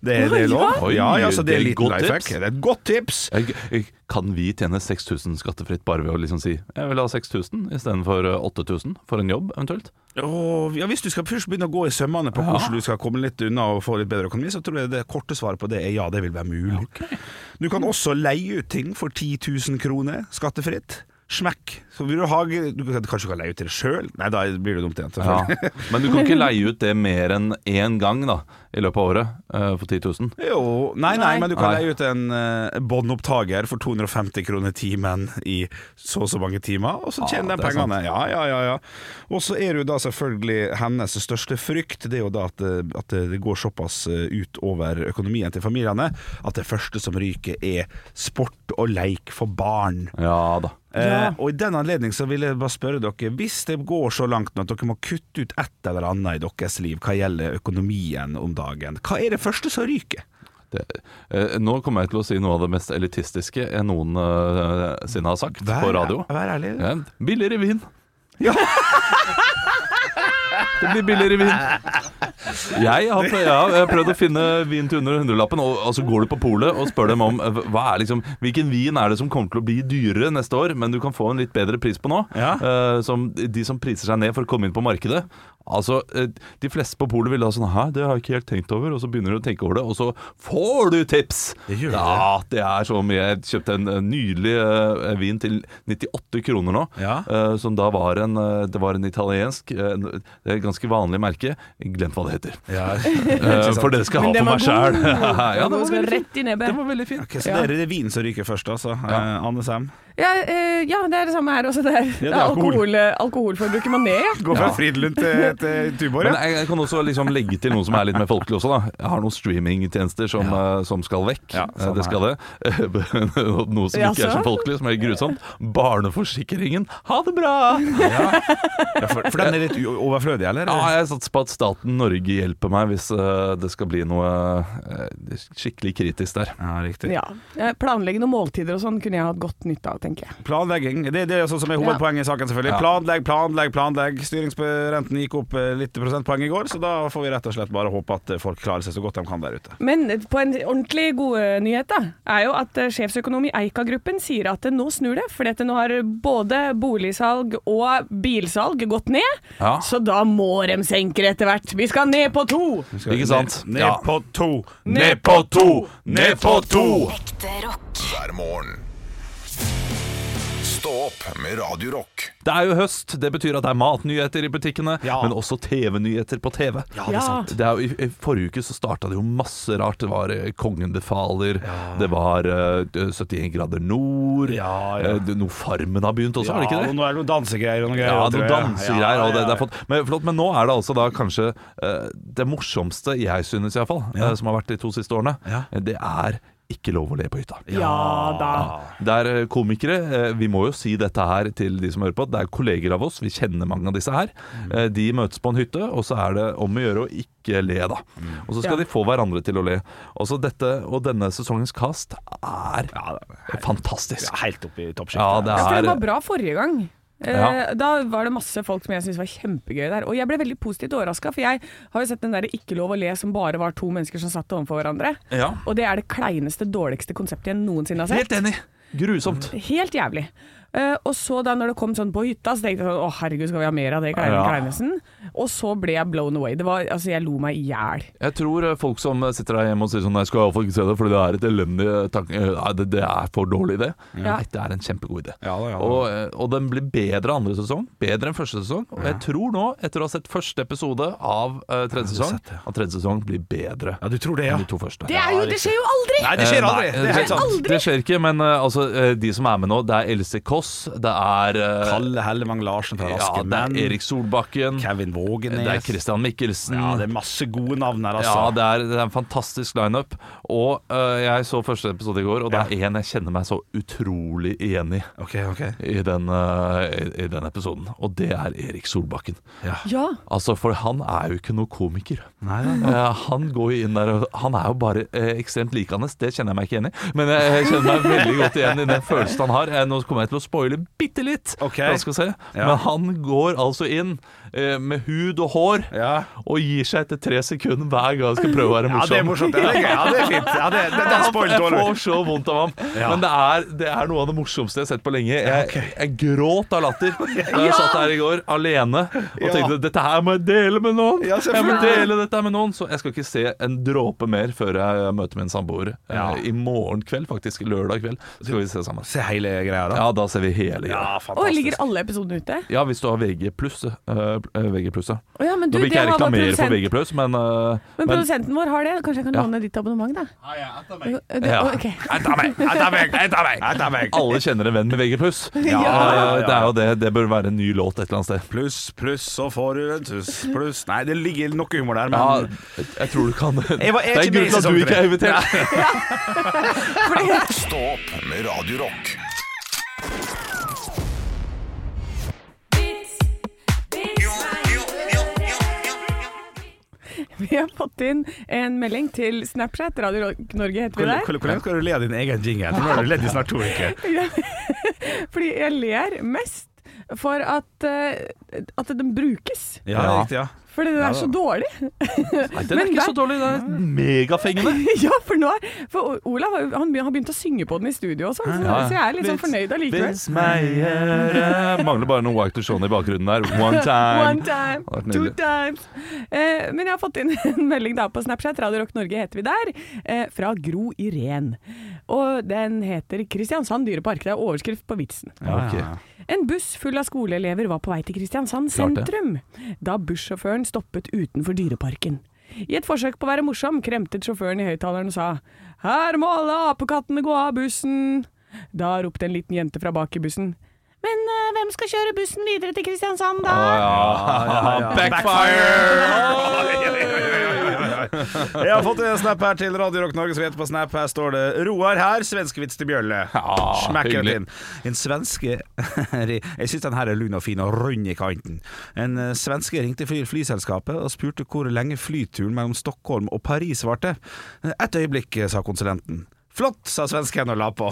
D: Det, er- det er lov.
C: Oi,
D: Ja, ja, så det er en
C: det er
D: liten
C: godt
D: lifehack.
C: tips.
D: Det er et godt tips.
C: Jeg- jeg- Kan vi tjene 6000 skattefritt bare ved å liksom si jeg vil ha 6000 istedenfor 8000 eh, for en jobb, eventuelt?
D: Åh, ja, hvis du skal først begynne å gå i sømmene på hvordan du skal komme litt unna og få litt bedre økonomi, så tror jeg det korte svaret på det er ja, det vil være mulig. Du kan også leie ut ting for 10 000 kroner skattefritt. Smekk. Så vil du ha du, kan- Kanskje du kan leie ut til deg sjøl? Nei, da blir det dumt igjen.
C: Ja. (laughs)
D: selvfølgelig.
C: Men du kan ikke leie ut det mer enn én gang da, i løpet av året eh, for 10 000.
D: Jo, nei, nei,
E: Nei.
D: men du kan
C: Nei.
D: leie ut en eh, båndopptaker for 250 kroner timen i så og så mange timer, og så
C: Ja,
D: tjener de
C: Ah, det er
D: pengene. Ja, ja, ja, ja. Og så er det jo da selvfølgelig hennes største frykt, det er jo da at, det- at det går såpass eh, ut over økonomien til familiene, at det første som ryker er sport og leik for barn.
C: Ja da.
D: Eh, og i den anledning så vil jeg bare spørre dere, hvis det går så langt nå at dere må kutte ut et eller annet i deres liv hva gjelder økonomien om dagen, hva er det første som ryker?
C: Det, eh, nå kommer jeg til å si noe av det mest elitistiske jeg noen eh, sinne har sagt på radio.
D: Vær ærlig.
C: Ja, billigere vin.
D: Ja.
C: (laughs) Det blir billigere vin. Jeg har, prøvd, ja, jeg har eh, prøvd å finne vin til under hundrelappen, og, og så går du på polet og spør dem om eh, hva er liksom, hvilken vin er det som kommer til å bli dyrere neste år, men du kan få en litt bedre pris på nå.
D: Ja.
C: Eh, som de som priser seg ned for å komme inn på markedet. Altså, eh, De fleste på polet vil da sånn Hæ, det har jeg ikke helt tenkt over. Og så begynner du å tenke over det, og så får du tips!
D: Det gjør
C: ja, det er så mye. Jeg kjøpte en eh, nydelig eh, vin til 98 kroner nå.
D: Ja.
C: eh, som da var en, eh, det var en italiensk eh, en- Det er et ganske vanlig merke. Glemt hva det heter. (laughs) Eh, for det skal
E: Men
C: jeg ha
E: den
C: for
E: var
C: meg sjæl.
E: god.
C: (laughs) ja,
E: Den
C: det var
E: skal
C: veldig fint.
E: rett i nebbet.
C: Den var veldig fin.
D: Ok, så
E: Ja.
D: det er det vin som ryker først, altså.
C: Ja.
D: Eh, Anne Sam.
E: Ja, eh, ja, det er det samme her også. Det er, det er
D: alkohol.
E: alkohol, eh, alkoholforbruket man ned, ja.
D: Gå fra
C: Ja.
D: Fridlund til, til Tuborg,
C: Men
D: ja.
C: jeg, jeg kan også liksom legge til noe som er litt mer folkelig også. da Jeg har noen streamingtjenester som, eh, som skal vekk.
D: Ja,
C: Eh, det
D: samme
C: skal det. (laughs) noe som ikke er så
E: Jaså?
C: folkelig, som er grusomt. Barneforsikringen, ha det bra!
D: Ja, for, for den er litt u- overflødig, eller?
C: Ja, jeg satser på at staten Norge hjelper meg hvis eh, det skal bli noe eh, skikkelig kritisk der.
D: Ja, riktig.
E: ja. Eh, Planleggende måltider og sånn kunne jeg hatt godt nytte av, tenker jeg.
D: Planlegging. Det, det er sånn som er hovedpoenget i saken, selvfølgelig.
C: Ja.
D: Planlegg, planlegg, planlegg. Styringsrenten gikk opp eh, litt prosentpoeng i går, så da får vi rett og slett bare håpe at eh, folk klarer seg så godt de kan der ute.
E: Men eh, på en ordentlig god nyhet da, er jo at eh, sjefsøkonom i Eika-gruppen sier at eh, nå snur det, fordi at nå har både boligsalg og bilsalg gått ned,
C: Ja.
E: så da må de senke det etter hvert. Vi skal ned på to!
C: Ikke sant?
D: Ned, ned
C: Ja.
D: på to!
E: Ned
C: på to! Ned på to!
F: Ekte rock.
B: hver morgen. Stå opp med Radio Rock.
C: Det er jo høst, det betyr at det er matnyheter i butikkene,
D: Ja.
C: men også TV-nyheter på TV.
E: det er Ja. sant.
C: Det er jo, i, I forrige uke så starta det jo masse rart. Det var eh, Kongen befaler, det var eh, 71 grader nord,
D: Ja, ja.
C: eh, det- noe Farmen har begynt også, var det ikke det?
D: og nå er det noen dansegreier og noen greier.
C: Ja,
D: tror
C: noen
D: jeg.
C: dansegreier. og
D: Ja,
C: det,
D: ja,
C: det er flott. Men, flott, men nå er det altså da kanskje eh, det morsomste, jeg synes iallfall, fall, eh, som har vært de to siste årene,
D: Ja.
C: eh, det er ikke lov å le på hytta.
E: Ja da.
C: Det er eh, komikere. eh, Vi må jo si dette her til de som hører på. Det er kolleger av oss. Vi kjenner mange av disse her.
D: Mm.
C: Eh, De møtes på en hytte, og så er det om å gjøre å ikke le, da.
D: Mm.
C: Og så skal
E: Ja.
C: de få hverandre til å le. Og så dette og denne sesongens cast er fantastisk.
D: Ja, helt opp i toppsjiktet.
C: Ja, det
E: Ja, for
C: er
E: det var bra forrige gang. Eh,
C: Ja.
E: Da var det masse folk som jeg syntes var kjempegøy der. Og jeg ble veldig positivt overraska, for jeg har jo sett den derre Ikke lov å le som bare var to mennesker som satt overfor hverandre.
C: Ja.
E: Og det er det kleineste, dårligste konseptet jeg noensinne har sett.
C: Helt enig. Grusomt.
E: Helt jævlig. Eh, og så da når det kom sånn på hytta, så tenkte jeg sånn Å herregud, skal vi ha mer av det kleine
C: Ja.
E: kleinesen? Og så ble jeg blown away. Det var, altså, jeg lo meg i hjel.
C: Jeg tror eh, folk som eh, sitter der hjemme og sier sånn Nei, skal jeg iallfall ikke se det, fordi det er et elendig tanke... eh, Nei, det, det er for dårlig, det. Nei, det er en kjempegod idé.
D: Ja da, ja da.
C: Og, eh, og den blir bedre andre sesong. Bedre enn første sesong. Og jeg tror nå, etter å ha sett første episode av eh, tredje
D: du har
C: sesong,
D: sett det.
C: at tredje sesong blir bedre
D: Ja, du tror det, ja.
C: enn de to første.
E: Det, er jo, det skjer jo aldri!
D: Nei, det skjer
C: Eh,
D: aldri.
C: nei,
D: det er helt sant.
E: aldri.
C: Det skjer ikke, men eh, altså, eh, de som er med nå, det er Else Kåss, Foss, det er eh,
D: Kalle Hellevang Larsen fra
C: ja,
D: Raske
C: det
D: Menn.
C: er Erik Solbakken,
D: Kevin Vågenes.
C: det er Christian Mikkelsen.
D: Ja, det er masse gode navn her, altså.
C: Ja, det er, det er en fantastisk lineup. Og øh, jeg så første episode i går, og det er én jeg kjenner meg så utrolig igjen i.
D: Ok, ok.
C: I den, øh, i, I den episoden. Og det er Erik Solbakken.
E: Ja.
C: Altså, For han er jo ikke noe komiker.
D: Nei, nei, nei.
C: Eh, han går jo inn der og Han er jo bare eh, ekstremt lik hans. Det kjenner jeg meg ikke igjen i. Men jeg, jeg kjenner meg veldig godt igjen i den følelsen han har. Eh, nå kommer jeg til å spoile bitte litt.
D: Ok.
C: for han skal se.
D: Ja.
C: Men han går altså inn eh, med hud og hår
D: Ja.
C: og gir seg etter tre sekunder hver gang han skal prøve å være
D: ja,
C: morsom.
D: det er morsomt. Ja, det er gøy. Ja, det er fint. Ja, det, det, det er spoilt
C: jeg
D: dårlig.
C: får så vondt av ham.
D: Ja.
C: Men det er, det er noe av det morsomste jeg har sett på lenge. Jeg, jeg gråt av
D: (laughs)
C: latter da jeg satt her i går alene og
D: Ja.
C: tenkte dette her må jeg dele med noen.
D: Ja,
C: jeg må
D: selvfølgelig.
C: dele dette her med noen Så jeg skal ikke se en dråpe mer før jeg møter min samboer eh,
D: Ja.
C: i morgen kveld, faktisk. Lørdag kveld. Så skal vi se sammen.
D: Se hele greia, da.
C: Ja, da ser vi hele
D: Ja,
C: greia.
E: Og
D: fantastisk.
E: ligger alle episodene ute?
C: Ja, hvis du har VG+. eh, VG+. Nå
E: Å ja, men du,
C: vil
E: det
C: ikke jeg
E: har bare
C: reklamere for
E: produsent.
C: VG+, men, eh,
E: Men produsenten vår har det. Kanskje jeg kan
C: Ja.
E: låne ditt abonnement, da? Ja, ja,
C: Ja. (laughs)
E: Ok.
D: Jeg tar meg, jeg tar meg, jeg (laughs) tar meg, jeg tar meg.
C: alle kjenner en venn med VG+.
D: Ja,
C: Eh, Det er jo det. Det bør være en ny låt et eller annet sted.
D: Pluss, pluss, så får du en tuss, pluss. Nei, det ligger noe humor der,
C: Ja,
D: men
C: jeg- jeg tror du kan
D: Jeg var-
C: Det
D: jeg er
C: er
D: ikke
C: grunnen
D: med i
C: til at
D: sesong
C: du ikke
D: tre.
C: er invitert.
B: Stå opp med Radio Rock.
E: Vi har fått inn en melding til Snapchat. Radio Rock Norge heter vi
D: Hvor-
E: der.
D: hvor- Hvordan skal du le av din egen jingle? Nå har du ledd i snart to uker.
E: (laughs) Fordi jeg ler mest for at, eh, at den brukes.
D: Ja,
C: Ja.
D: riktig, ja.
E: Fordi den er så dårlig.
C: Nei, den er
E: (laughs) Men
C: ikke
E: der-
C: så dårlig. Den er megafengende.
E: (laughs) ja, for nå er, For O- Olav har jo- han be- har begynt å synge på den i studio og sånn, så,
C: Ja, ja.
E: så jeg er litt sånn fornøyd allikevel.
C: Vince Meyer Mangler bare noe White to Shone i bakgrunnen der. One time.
E: One time,
C: Det har vært
E: two
C: nydelig.
E: times. Eh, men jeg har fått inn (laughs) en melding da på Snapchat, Radio Rock Norge heter vi der, eh, fra Gro Irén. Og den heter 'Kristiansand dyrepark'. Det er overskrift på vitsen.
C: Ja, ok.
E: En buss full av skoleelever var på vei til Kristiansand
C: Klart det.
E: sentrum da bussjåføren stoppet utenfor dyreparken. I et forsøk på å være morsom kremtet sjåføren i høyttaleren og sa Her må alle apekattene gå av bussen! Da ropte en liten jente fra bak i bussen. Men eh, hvem skal kjøre bussen videre til Kristiansand da?
C: Å, ja.
D: Backfire! Jeg har fått en snap her til Radio Rock Norge, som heter på Snap. Her står det 'Roar her, svenskevits til Bjølle'.
C: Ja,
D: Smekker
C: hyggelig.
D: det inn. En svenske (laughs) Jeg syns den her er lun og fin og rund i kanten. En eh, svenske ringte fly flyselskapet og spurte hvor lenge flyturen mellom Stockholm og Paris varte. Et øyeblikk, eh, sa konsulenten. Flott, sa svensken og la på.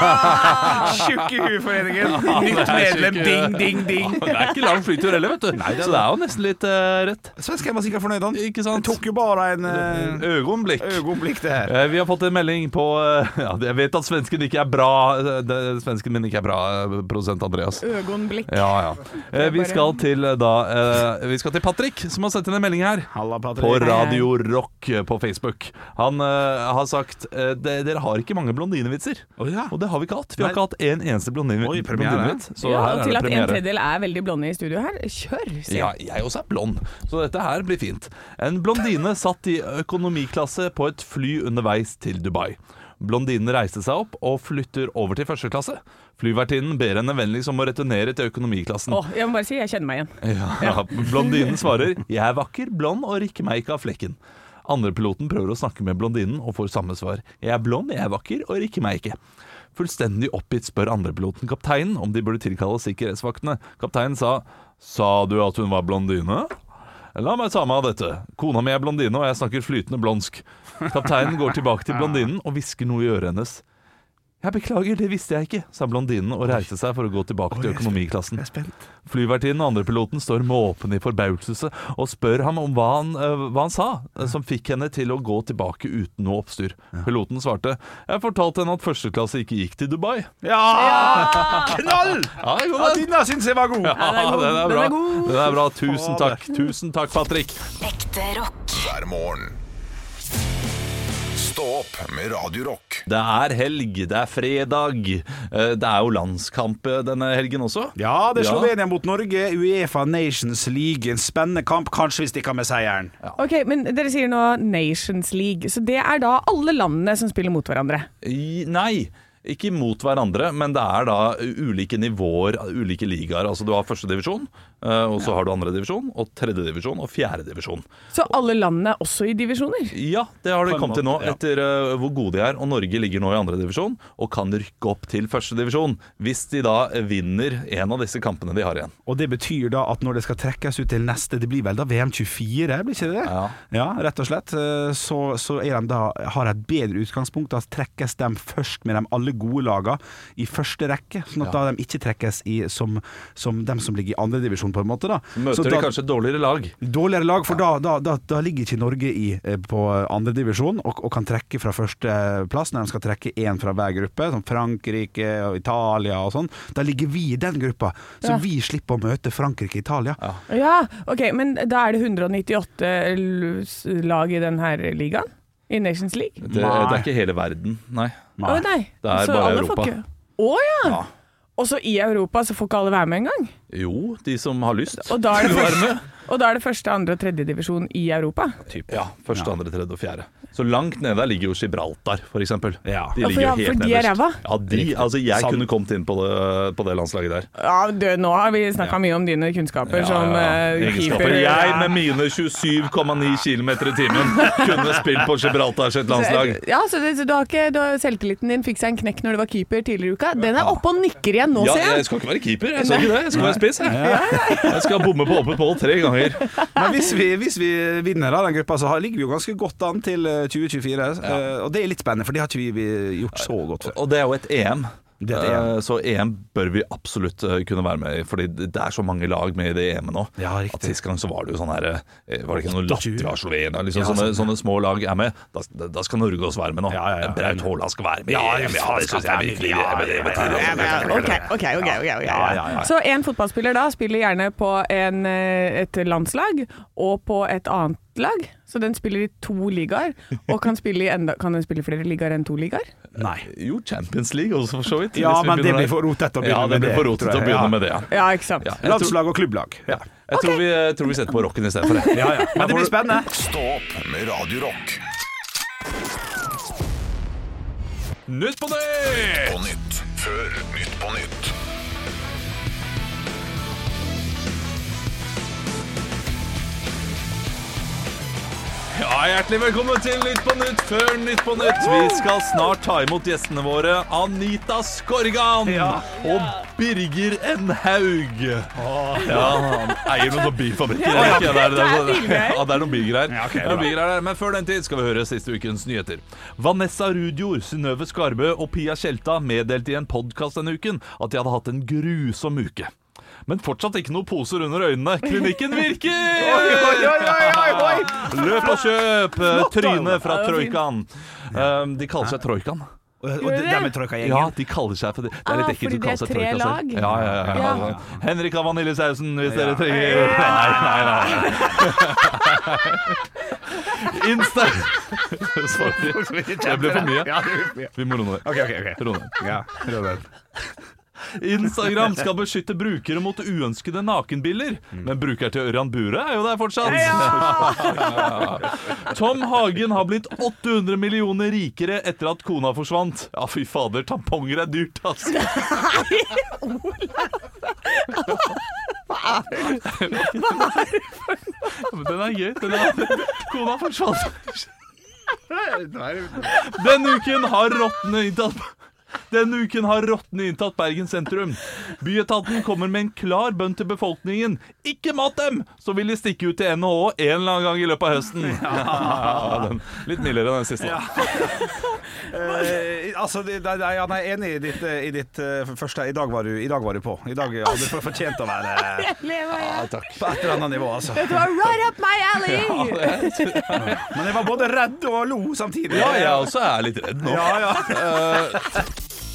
D: (laughs) Tjukke huforeningen. Nytt medlem, ding, ding, ding.
C: Det er ikke lang flytur heller, vet du.
D: det er
C: Så det er jo nesten litt eh, rett.
D: Svensken var sikkert fornøyd, han.
C: Ikke sant?
D: Det tok jo bare en eh,
C: Øyeblikk.
D: øyeblikk, det her.
C: Eh, Vi har fått en melding på eh, (laughs) ja, Jeg vet at svensken ikke er bra eh, det- Svensken min ikke er bra, eh, produsent Andreas.
E: Øgonblikk.
C: Ja, ja. Eh, vi skal til eh, da eh, Vi skal til Patrick, som har sendt inn en melding her.
D: Halla, Patrick.
C: På Radio Rock eh, på Facebook. Han eh, har sagt eh, de- Dere har ikke mange blondinevitser.
D: Å, ja.
C: Og det har vi ikke hatt. Vi har
D: Nei.
C: ikke hatt én eneste blondine-
D: Oi, premiere.
C: blondinevits. Så
E: Ja,
C: her
E: og
C: er
E: til
C: det
E: at en
C: premiere.
E: tredjedel er veldig blonde i studio her. Kjør! sier
C: Ja,
E: jeg.
C: jeg også er blond, så dette her blir fint. En blondine satt i økonomiklasse på et fly underveis til Dubai. Blondinen reiste seg opp og flytter over til første klasse. Flyvertinnen ber henne vennligst om å returnere til økonomiklassen.
E: Åh, jeg må bare si jeg kjenner meg igjen.
C: Ja, (laughs) blondinen svarer 'Jeg er vakker, blond og rikker meg ikke av flekken'. Andrepiloten prøver å snakke med blondinen og får samme svar. 'Jeg er blond, jeg er vakker og rikker meg ikke'. Fullstendig oppgitt spør andrepiloten kapteinen om de burde tilkalle sikkerhetsvaktene. Kapteinen sa 'Sa du at hun var blondine?' La meg ta meg av dette. Kona mi er blondine, og jeg snakker flytende blondsk. Kapteinen går tilbake til blondinen og hvisker noe i øret hennes. Jeg beklager, det visste jeg ikke, sa blondinen og reiste seg for å gå tilbake til økonomiklassen.
D: Jeg er spent.
C: Flyvertinnen og andrepiloten står måpende i forbauselse og spør ham om hva han, eh, hva han sa, eh, som fikk henne til å gå tilbake uten noe oppstyr. Piloten svarte 'Jeg fortalte henne at førsteklasse ikke gikk til Dubai'.
D: Ja! Knall!
C: Ja, det er
D: Ja,
C: god, den.
D: Dina syns jeg var god.
C: Ja,
E: den er god.
C: den er
E: Den
C: bra.
E: er god.
C: Den er bra. Tusen takk. Tusen takk, Patrick.
F: Ekte rock.
B: hver morgen. Stå opp med Radio Rock.
C: Det er helg, det er fredag. Eh, Det er jo landskamp eh, denne helgen også.
D: Ja, det er Slovenia mot Norge. Uefa Nations League. En spennende kamp. Kanskje vi stikker med seieren.
E: Ok, men Dere sier nå Nations League, så det er da alle landene som spiller mot hverandre?
C: I, nei. Ikke mot hverandre, men det er da ulike nivåer, ulike ligaer. Altså du har førstedivisjon, og så har du andredivisjon, og tredjedivisjon og fjerdedivisjon.
E: Så alle landene er også i divisjoner?
C: Ja, det har de
D: På en
C: kommet til nå,
D: måte, ja.
C: etter eh, hvor gode de er. Og Norge ligger nå i andredivisjon og kan rykke opp til førstedivisjon hvis de da vinner en av disse kampene de har igjen.
D: Og det betyr da at når det skal trekkes ut til neste Det blir vel da VM24, blir ikke det?
C: Ja.
D: rett og slett. Eh, Så, så er de da, har et bedre utgangspunkt. Da trekkes de først med de alle gode lagene i første rekke. Sånn at da de ikke trekkes i som, som dem som ligger i andredivisjon, på en måte. da
C: Møter
D: så
C: de
D: da,
C: kanskje et dårligere lag?
D: Dårligere lag, for da, da, da, da ligger ikke Norge i, eh, på andredivisjon og, og kan trekke fra førsteplass når de skal trekke én fra hver gruppe, som Frankrike og Italia og sånn. Da ligger vi i den gruppa, så
E: Ja.
D: vi slipper å møte Frankrike og Italia.
E: Ja, ok, men da er det 198 lag i denne ligaen? I Nations League?
C: Det, det er ikke hele verden, nei.
E: Å nei.
C: Det er bare
E: alle får
C: Europa.
E: ikke- Å ja. Og så i Europa så får ikke alle være med engang?
C: Jo, de som har lyst.
E: Og da er det
C: vil være
E: første,
C: med.
E: og da er det første andre og tredje divisjon i Europa?
C: Ja, første, andre, tredje og fjerde. Så langt nede der ligger jo Gibraltar, for eksempel.
D: Ja.
C: De
E: Ja, for-
C: ligger
E: ja,
C: jo helt
E: for de er
C: nederst.
E: ræva.
C: Ja, de, altså jeg
D: Sant.
C: kunne kommet inn på det, på det landslaget der.
E: Ja, du, nå har vi snakka
C: Ja.
E: mye om dine kunnskaper
C: Ja,
E: som
C: ja,
E: eh,
C: ja. Egenskaper.
E: keeper.
C: Jeg
E: Ja.
C: med mine 27,9 km i timen kunne spilt på Gibraltar sitt landslag.
E: Ja, så, det, så du har ikke, du har, Selvtilliten din fikk seg en knekk når du var keeper tidligere i uka. Den er oppe og nikker igjen nå,
C: Ja,
E: ser
C: jeg
E: jeg.
C: skal ikke være keeper, jeg skal ikke det. Jeg skal være spiss. Jeg, jeg skal bomme på åpen pål tre ganger.
D: Men hvis vi, hvis vi vinner da den gruppa, så har- ligger vi jo ganske godt an til eh, 2024. eh, Og det er litt spennende, for det har ikke vi- vi gjort så godt før.
C: Og det er jo et EM.
D: Det er et
C: Eh,
D: EM.
C: Så EM bør vi absolutt eh, kunne være med i, fordi det er så mange lag med i det EM-et nå.
D: Ja, riktig.
C: At Sist gang så var det jo sånn her eh, Var det ikke noe Latvia og Slovenia? Liksom,
D: Ja,
C: sånne,
D: sånn.
C: sånne små lag er med. Da, da skal Norge også være med nå.
D: Ja, ja, ja.
C: Braut Haaland skal være med. i
D: Ja,
C: EM,
D: faen,
C: det
D: skal
C: syns jeg virkelig.
D: være med.
C: det er
D: Ja, ja, ja,
C: betimelig.
E: Ja, ok, ok, ok, ok, ok,
D: Ja, ja, ja.
E: Så en fotballspiller da spiller gjerne på en, eh, et landslag og på et annet lag. Så den spiller i to ligaer, og kan, spille i enda, kan den spille i flere ligaer enn to ligaer?
D: Nei.
C: Jo, Champions League også, for så vidt.
D: Ja,
C: hvis vi
D: men det
C: begynner
D: blir
C: der.
D: for rotete å begynne
C: ja,
D: med
C: det. blir
D: det,
C: for rotete
D: tror
C: å
D: jeg.
C: begynne
D: Ja.
C: med det, ja.
E: Ja, ikke sant.
C: Ja, jeg tror,
D: Landslag og klubblag. Ja.
C: jeg, tror vi, jeg tror vi setter på rocken istedenfor. jeg.
D: Ja, ja. Men det blir spennende.
B: (laughs) Stå opp med Radio Rock.
C: Nytt på nytt!
B: På nytt før Nytt på nytt.
C: Ja, Hjertelig velkommen til Nytt på Nytt før Nytt på Nytt. Vi skal snart ta imot gjestene våre Anita Skorgan
D: Ja.
C: og Birger N. Haug. Ja, han eier noen sånne bilfabrikker.
E: Ja,
C: ikke? det, er, det, er,
E: det er bilgreier.
C: ja, det er noen bilgreier.
D: Ja, ok,
C: Det er noen
D: bra.
C: bilgreier der. Men før den tid skal vi høre siste ukens nyheter. Vanessa Rudjord, Synnøve Skarbø og Pia Tjelta meddelte i en podkast denne uken at de hadde hatt en grusom uke. Men fortsatt ikke noen poser under øynene. Klinikken virker! Løp og kjøp! eh, Tryne fra
E: Ja, det var fint.
C: Troikan. Um, de kaller seg Troikan.
D: Og, og
E: Gjør
D: det,
E: det?
D: dermed trøkka gjengen.
C: Ja, de kaller seg for det. Det er
E: Ah,
C: litt ekkelt
E: fordi
C: å kalle
E: det er
C: seg
E: tre
C: Troika selv.
E: lag.
C: Ja, ja, ja, ja.
E: Ja.
C: Henrik har vaniljesausen hvis dere trenger Nei, nei, nei. nei. (laughs) Insta... Sorry. Det ble for mye.
D: Ja, det blir for mye.
C: Vi må roe ned.
D: Ok, ok, ok.
C: Roe ned.
D: Ja, Robert.
C: Instagram skal beskytte brukere mot uønskede nakenbilder. Men bruker til Ørjan Bure er jo der fortsatt. Tom Hagen har blitt 800 millioner rikere etter at kona forsvant. Ja, fy fader, tamponger er dyrt, altså. Men den er gøy. Den er... Kona forsvant. Denne uken har rottene inntatt denne uken har rottene inntatt Bergen sentrum. Byetaten kommer med en klar bønn til befolkningen. Ikke mat dem! Så vil de stikke ut til NHO en eller annen gang i løpet av høsten. Ja, den, litt mildere enn den siste.
D: Eh, altså, det- det- det- ja, nei, jeg er enig i ditt, eh, i ditt eh, første I dag var du, i dag var du på. I dag hadde du for- fortjent å være
C: (laughs)
D: eh,
E: Lever jeg?
D: på et eller annet nivå, altså.
E: Det var right up my alley!
D: Men jeg var både redd og lo samtidig.
C: Ja, jeg også er litt redd nå.
D: Ja, ja.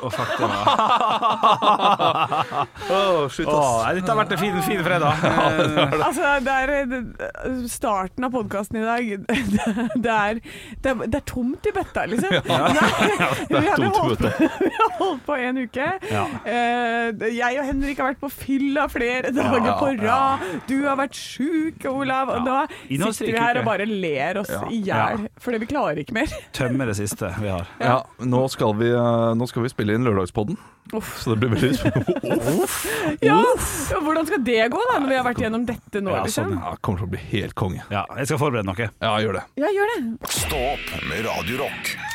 D: Å, fuck, det var Å, slutt, ass. Å, nei, dette har vært en fin, fin fredag. Eh,
E: Altså, det er det- starten av podkasten i dag (laughs) det er, det, er, det er tomt i bøtta,
D: (laughs)
E: liksom. det er, vi hadde
D: tomt i
E: holdt, på- (laughs) vi har holdt på en uke.
D: Ja.
E: Eh, jeg og Henrik har vært på fylla flere dager
D: Ja,
E: på rad. Du har vært sjuk, Olav. Og
D: Ja.
E: nå sitter vi
D: Innholdsrik
E: her
D: uke.
E: og bare ler oss
D: Ja.
E: i hjel, fordi vi klarer ikke mer. (laughs)
D: Tømme det siste vi har.
C: Ja, nå skal vi, eh, nå skal vi spille inn lørdagspodden.
E: Uff.
C: Så det blir veldig spennende.
E: Ja, hvordan skal det gå, da, når vi har vært gjennom dette nå,
D: (laughs) Ja, sånn,
E: liksom?
C: Ja, kommer til å bli helt konge.
D: Ja, jeg skal forberede noe.
C: Ja, gjør det.
E: Ja, gjør det.
B: Stå opp med Radio Rock.